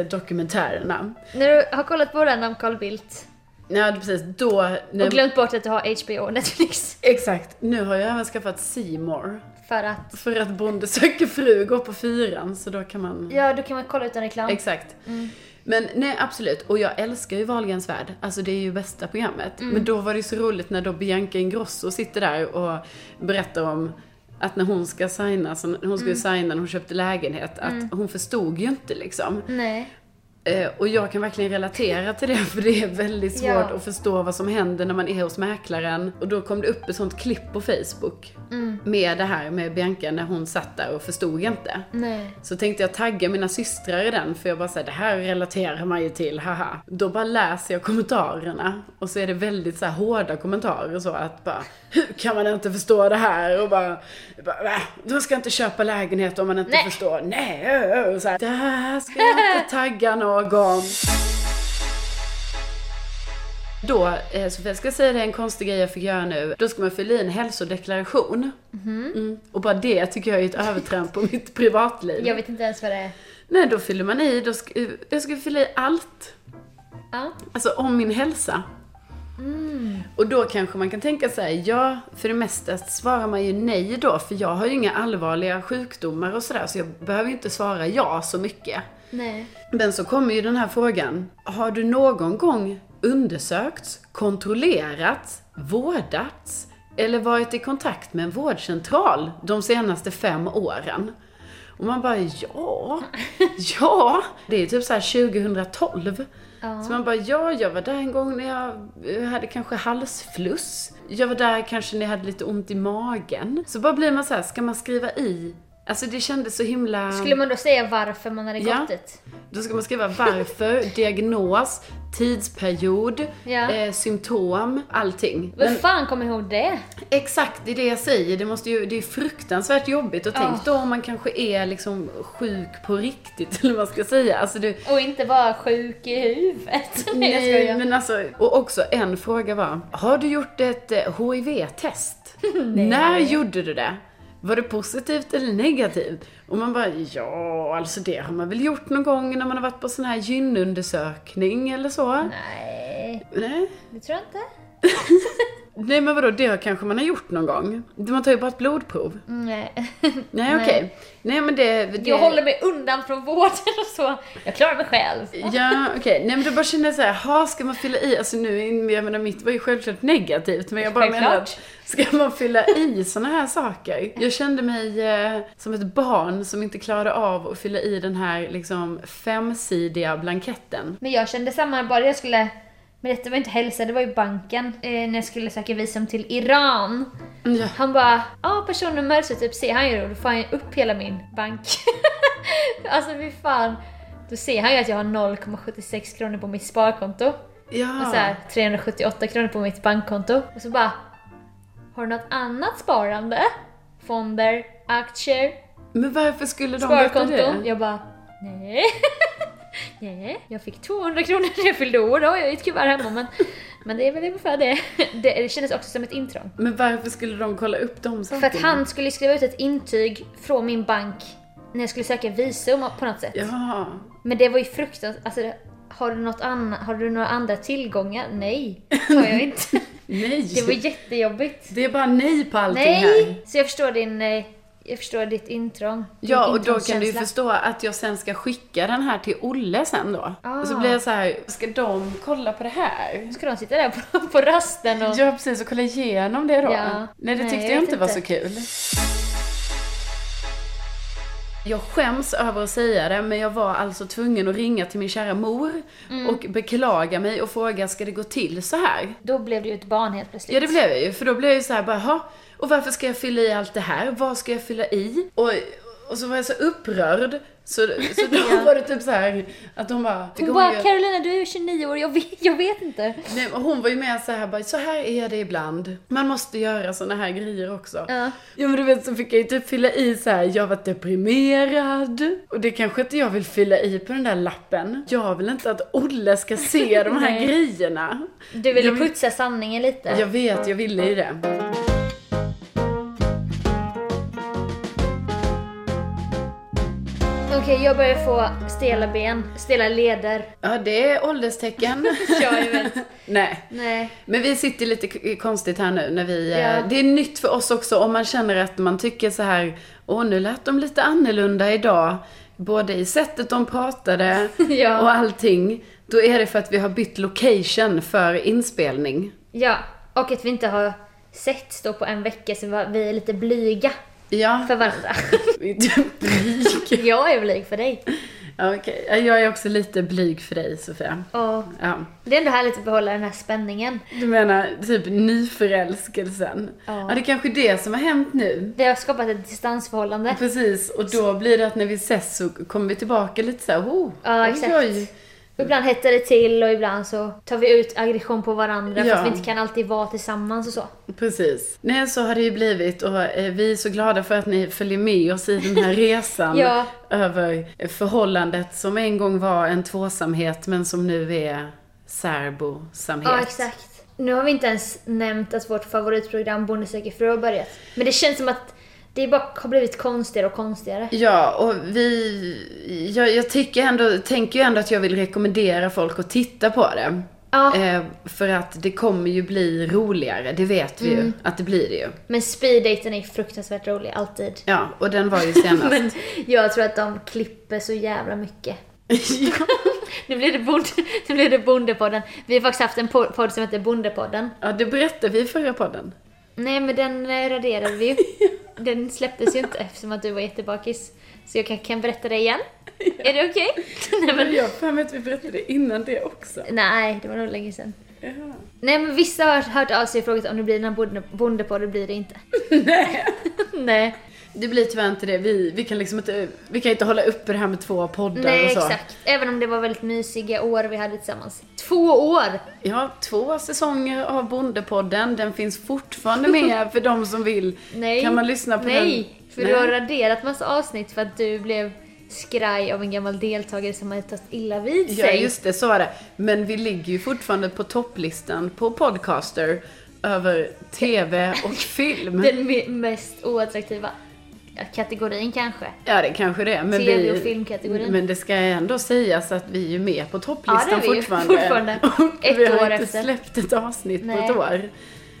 Speaker 1: Dokumentärerna.
Speaker 2: När du har kollat på den om Carl Bildt
Speaker 1: Ja, precis. Då...
Speaker 2: och
Speaker 1: Nu,
Speaker 2: glömt bort att du har HBO och Netflix.
Speaker 1: exakt. Nu har jag även skaffat C More.
Speaker 2: För att,
Speaker 1: För att Bonde söker fru går på fyran, så då kan man...
Speaker 2: ja då kan man kolla utan reklam.
Speaker 1: Exakt. Men nej, absolut. Och jag älskar ju Wahlgrens värld. Alltså det är ju bästa programmet. Men då var det ju så roligt när då Bianca Ingrosso sitter där och berättar om att när hon ska signa, så hon skulle signa när hon köpte lägenhet, att hon förstod ju inte liksom.
Speaker 2: Nej.
Speaker 1: Eh, och jag kan verkligen relatera till det, för det är väldigt svårt
Speaker 2: Ja.
Speaker 1: att förstå vad som händer när man är hos mäklaren. Och då kom det upp ett sånt klipp på Facebook med det här med Bianca när hon satt där och förstod inte.
Speaker 2: Nej.
Speaker 1: Så tänkte jag tagga mina systrar i den, för jag bara säger det här relaterar man ju till, haha. Då bara läser jag kommentarerna, och så är det väldigt så här hårda kommentarer och så att bara, hur kan man inte förstå det här? Och bara, bara "Va? du ska inte köpa lägenhet om man inte
Speaker 2: Nej.
Speaker 1: förstår. Nej, ö, ö." och så här, det här ska jag inte tagga någon. Då, eh, Sofia, jag ska säga det en konstig grej jag fick göra nu. Då ska man fylla i en hälsodeklaration. Mm. Och bara det tycker jag är ett övertramp på mitt privatliv.
Speaker 2: Jag vet inte ens vad det är.
Speaker 1: Nej, då fyller man i, då ska, jag ska fylla i allt.
Speaker 2: Ja.
Speaker 1: Alltså om min hälsa. Och då kanske man kan tänka sig, ja, för det mesta svarar man ju nej då, för jag har ju inga allvarliga sjukdomar och sådär, så jag behöver ju inte svara ja så mycket.
Speaker 2: Nej.
Speaker 1: Men så kommer ju den här frågan. Har du någon gång undersökts, kontrollerats, vårdats eller varit i kontakt med en vårdcentral de senaste fem åren? Och man bara ja, ja. Det är typ så här 2012.
Speaker 2: Ja.
Speaker 1: Så man bara ja, jag var där en gång när jag eh, hade kanske halsfluss. Jag var där kanske när jag hade lite ont i magen. Så bara blir man så här, ska man skriva i? Alltså det kändes så himla...
Speaker 2: Skulle man då säga varför man hade
Speaker 1: Ja.
Speaker 2: gått dit?
Speaker 1: Då ska man skriva varför, diagnos, tidsperiod,
Speaker 2: Ja.
Speaker 1: eh, symptom, allting.
Speaker 2: Vem
Speaker 1: Men
Speaker 2: fan kommer ihåg det?
Speaker 1: exakt, det är det jag säger. Det, måste ju, det är fruktansvärt jobbigt. Och tänk
Speaker 2: Ah.
Speaker 1: då om man kanske är liksom sjuk på riktigt, eller vad man ska säga. Alltså det,
Speaker 2: Och inte vara sjuk i huvudet. Nej, jag skojar.
Speaker 1: men alltså, och också en fråga var, har du gjort ett eh, HIV-test? När gjorde du det? Var det positivt eller negativt? Och man bara, ja, alltså det har man väl gjort någon gång när man har varit på sån här gynundersökning eller så.
Speaker 2: Nej,
Speaker 1: Nej.
Speaker 2: det tror jag inte.
Speaker 1: Nej men vadå, det har kanske man har gjort någon gång? Man tar ju bara ett blodprov.
Speaker 2: Mm. Nej.
Speaker 1: Nej okej. Nej men det... det...
Speaker 2: Jag håller mig undan från vården och så. Jag klarar mig själv.
Speaker 1: Ja okej, nej men då bara känner jag såhär, ha ska man fylla i? Alltså nu, är- jag menar mitt var ju självklart negativt men jag bara menar att, ska man fylla i såna här saker? Jag kände mig eh, som ett barn som inte klarade av att fylla i den här liksom femsidiga blanketten.
Speaker 2: Men jag kände samma, bara jag skulle... Men detta var inte hälsa, det var ju banken. Eh, när jag skulle söka visum till Iran.
Speaker 1: Ja.
Speaker 2: Han bara, ja personnummer, så typ ser han ju det och då får han ju upp hela min bank. alltså fy fan. Då ser han ju att jag har 0,76 kronor på mitt sparkonto. Och så här, 378 kronor på mitt bankkonto. Och så bara, har du något annat sparande? Fonder, aktier,
Speaker 1: Men varför skulle de veta
Speaker 2: sparkonto?
Speaker 1: det?
Speaker 2: Jag bara, nej. nej. Jag fick 200 kronor när jag fyllde år, då har jag ju ett kuvert hemma. Men, men det är väl ungefär det. det. Det kändes också som ett intrång.
Speaker 1: Men varför skulle de kolla upp de sakerna?
Speaker 2: För att han skulle skriva ut ett intyg från min bank när jag skulle söka visum på något sätt.
Speaker 1: Ja.
Speaker 2: Men det var ju fruktansvärt. Alltså, det- har, du något anna, har du några andra tillgångar? Nej, har jag inte.
Speaker 1: Nej.
Speaker 2: Det var jättejobbigt.
Speaker 1: Det är bara nej på allting här.
Speaker 2: Nej! Så jag förstår din... eh, Jag förstår ditt intrång. Din
Speaker 1: Ja, och då kan du ju
Speaker 2: intrångskänsla.
Speaker 1: förstå att jag sen ska skicka den här till Olle sen då.
Speaker 2: Ah.
Speaker 1: Så blir jag så här, ska de kolla på det här?
Speaker 2: Ska de sitta där på, på rasten och...
Speaker 1: Ja, precis, och kolla igenom det då.
Speaker 2: Ja.
Speaker 1: Nej, det
Speaker 2: Nej,
Speaker 1: tyckte
Speaker 2: jag
Speaker 1: jag
Speaker 2: vet
Speaker 1: inte var
Speaker 2: inte.
Speaker 1: så kul. Jag skäms över att säga det, men jag var alltså tvungen att ringa till min kära mor
Speaker 2: Mm.
Speaker 1: och beklaga mig och fråga, ska det gå till så här?
Speaker 2: Då blev du ju ett barn helt plötsligt.
Speaker 1: Ja det blev jag ju, för då blev jag ju såhär bara, "Jaha, och varför ska jag fylla i allt det här? Vad ska jag fylla i? Och, och så var jag så upprörd, så, så då
Speaker 2: Ja.
Speaker 1: var det typ så här att de bara...
Speaker 2: Hon bara,
Speaker 1: ju-
Speaker 2: Carolina du är 29 år, jag vet, jag vet inte.
Speaker 1: Nej, men hon var ju med så här bara, så här är det ibland. Man måste göra såna här grejer också.
Speaker 2: Ja.
Speaker 1: Jo men du vet så fick jag ju typ fylla i så här, jag var deprimerad. Och det kanske inte jag vill fylla i på den där lappen. Jag vill inte att Olle ska se de här
Speaker 2: Nej.
Speaker 1: grejerna.
Speaker 2: Du ville
Speaker 1: Jag vill-
Speaker 2: putsa sanningen lite.
Speaker 1: Jag vet, jag ville ju det.
Speaker 2: jag börjar få stela ben, stela leder.
Speaker 1: Ja, det är ålderstecken.
Speaker 2: Jag är väl...
Speaker 1: Nej.
Speaker 2: Nej.
Speaker 1: Men vi sitter lite k- konstigt här nu när vi... eh,
Speaker 2: Ja.
Speaker 1: Det är nytt för oss också om man känner att man tycker så här, åh nu lät de lite annorlunda idag. Både i sättet de pratade
Speaker 2: Ja.
Speaker 1: och allting. Då är det för att vi har bytt location för inspelning.
Speaker 2: Ja, och att vi inte har sett då på en vecka så var- vi är lite blyga
Speaker 1: Ja.
Speaker 2: för varandra.
Speaker 1: Typ blyg.
Speaker 2: jag är blyg för dig.
Speaker 1: Ja, Okej, jag är också lite blyg för dig Sofia.
Speaker 2: Och
Speaker 1: Ja.
Speaker 2: det är ändå härligt att behålla den här spänningen.
Speaker 1: Du menar typ nyförälskelsen?
Speaker 2: Ja.
Speaker 1: ja det är kanske är det som har hänt nu.
Speaker 2: Vi har skapat ett distansförhållande.
Speaker 1: Precis, och då blir det att när vi ses så kommer vi tillbaka lite såhär, oh,
Speaker 2: Ja,
Speaker 1: oj,
Speaker 2: exakt.
Speaker 1: oj.
Speaker 2: Ibland hettar det till och ibland så tar vi ut aggression på varandra för
Speaker 1: Ja.
Speaker 2: att vi inte kan alltid vara tillsammans och så.
Speaker 1: Precis. Nej, så har det ju blivit och eh, vi är så glada för att ni följer med oss i den här resan
Speaker 2: Ja.
Speaker 1: över eh, förhållandet som en gång var en tvåsamhet men som nu är särbosamhet.
Speaker 2: Ja, exakt. Nu har vi inte ens nämnt att vårt favoritprogram Bonde söker fru har börjat. Men det känns som att det bara har blivit konstigare och konstigare.
Speaker 1: Ja, och vi... Jag, jag tycker ändå, tänker ju ändå att jag vill rekommendera folk att titta på det.
Speaker 2: Ja.
Speaker 1: Eh, för att det kommer ju bli roligare, det vet vi
Speaker 2: Mm.
Speaker 1: ju att det blir det ju.
Speaker 2: Men speeddaten är fruktansvärt rolig, alltid.
Speaker 1: Ja, och den var ju senast.
Speaker 2: Men jag tror att de klipper så jävla mycket.
Speaker 1: ja.
Speaker 2: Nu blir det, bonde, nu blir det Bondepodden. Vi har faktiskt haft en po- podd som heter Bondepodden.
Speaker 1: ja, det berättade vi i förra podden.
Speaker 2: Nej, men den eh, raderade vi ju. Den släpptes ju inte eftersom att du var jättebakis. Så jag kan, kan berätta det igen. Är det okej? Nej, men,
Speaker 1: Jag har för mig att vi berättade det innan det också.
Speaker 2: nej, det var nog länge sedan. Nej, men vissa har hört av sig och frågat om det blir den här bonde- Bondepodd, det blir det inte.
Speaker 1: Nej.
Speaker 2: nej,
Speaker 1: Det blir tyvärr inte det. Vi, vi kan liksom inte, vi kan inte hålla uppe det här med två poddar
Speaker 2: nej
Speaker 1: och så.
Speaker 2: exakt. Även om det var väldigt mysiga år vi hade tillsammans. Två år!
Speaker 1: Ja, två säsonger av Bondepodden. Den finns fortfarande med för de som vill.
Speaker 2: Nej.
Speaker 1: Kan man lyssna på den?
Speaker 2: Nej, för du har raderat massa avsnitt för att du blev skraj av en gammal deltagare som hade tagit illa vid
Speaker 1: Ja,
Speaker 2: sig.
Speaker 1: just det, så var det. Men vi ligger ju fortfarande på topplistan på Podcaster över TV och film.
Speaker 2: Den me- mest oattraktiva kategorin kanske.
Speaker 1: Ja, det kanske det är. Men
Speaker 2: TV-
Speaker 1: vi-
Speaker 2: och filmkategorin.
Speaker 1: Men det ska ändå sägas att vi är ju med på topplistan
Speaker 2: Ja, det är vi ju.
Speaker 1: fortfarande.
Speaker 2: Fortfarande.
Speaker 1: Och
Speaker 2: Ett
Speaker 1: vi har
Speaker 2: år
Speaker 1: inte
Speaker 2: efter.
Speaker 1: släppt ett avsnitt på
Speaker 2: Nej.
Speaker 1: ett år.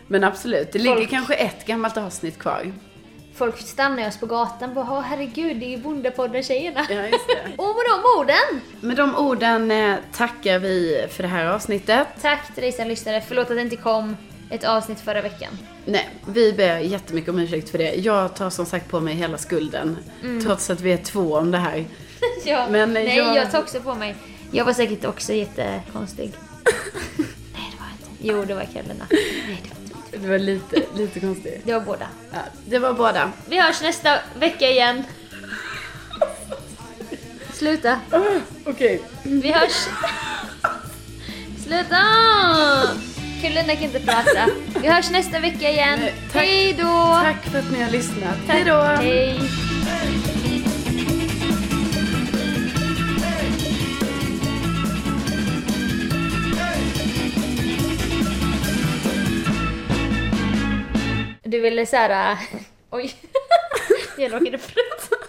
Speaker 1: Men absolut, det ligger
Speaker 2: Folk-
Speaker 1: kanske ett gammalt avsnitt kvar.
Speaker 2: Folk stannar oss på gatan och bara "Åh, herregud, det är ju Bondepodden-tjejerna.
Speaker 1: Ja, just det.
Speaker 2: Och med de orden!
Speaker 1: Med de orden eh, tackar vi för det här avsnittet.
Speaker 2: Tack till dig som lyssnade. Förlåt att det inte kom ett avsnitt förra veckan.
Speaker 1: Nej, vi ber jättemycket om ursäkt för det. Jag tar som sagt på mig hela skulden.
Speaker 2: Mm.
Speaker 1: Trots att vi är två om det här.
Speaker 2: ja.
Speaker 1: Men
Speaker 2: Nej, jag...
Speaker 1: jag-
Speaker 2: tar också på mig. Jag var säkert också jättekonstig. Nej, det var jag inte. Jo, det var Karolina. Nej, det var inte.
Speaker 1: Det var lite, lite konstigt.
Speaker 2: Det var båda.
Speaker 1: Ja, det var båda.
Speaker 2: Vi hörs nästa vecka igen. Sluta.
Speaker 1: Okej.
Speaker 2: Vi hörs. Sluta! Karolina kan inte prata. Vi hörs nästa vecka igen.
Speaker 1: Nej, tack.
Speaker 2: Hej då!
Speaker 1: Tack för att ni har lyssnat. Hej då!
Speaker 2: Hej. Du ville såhär... Oj. Jag råkade prata.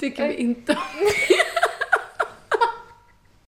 Speaker 1: Tycker vi inte om.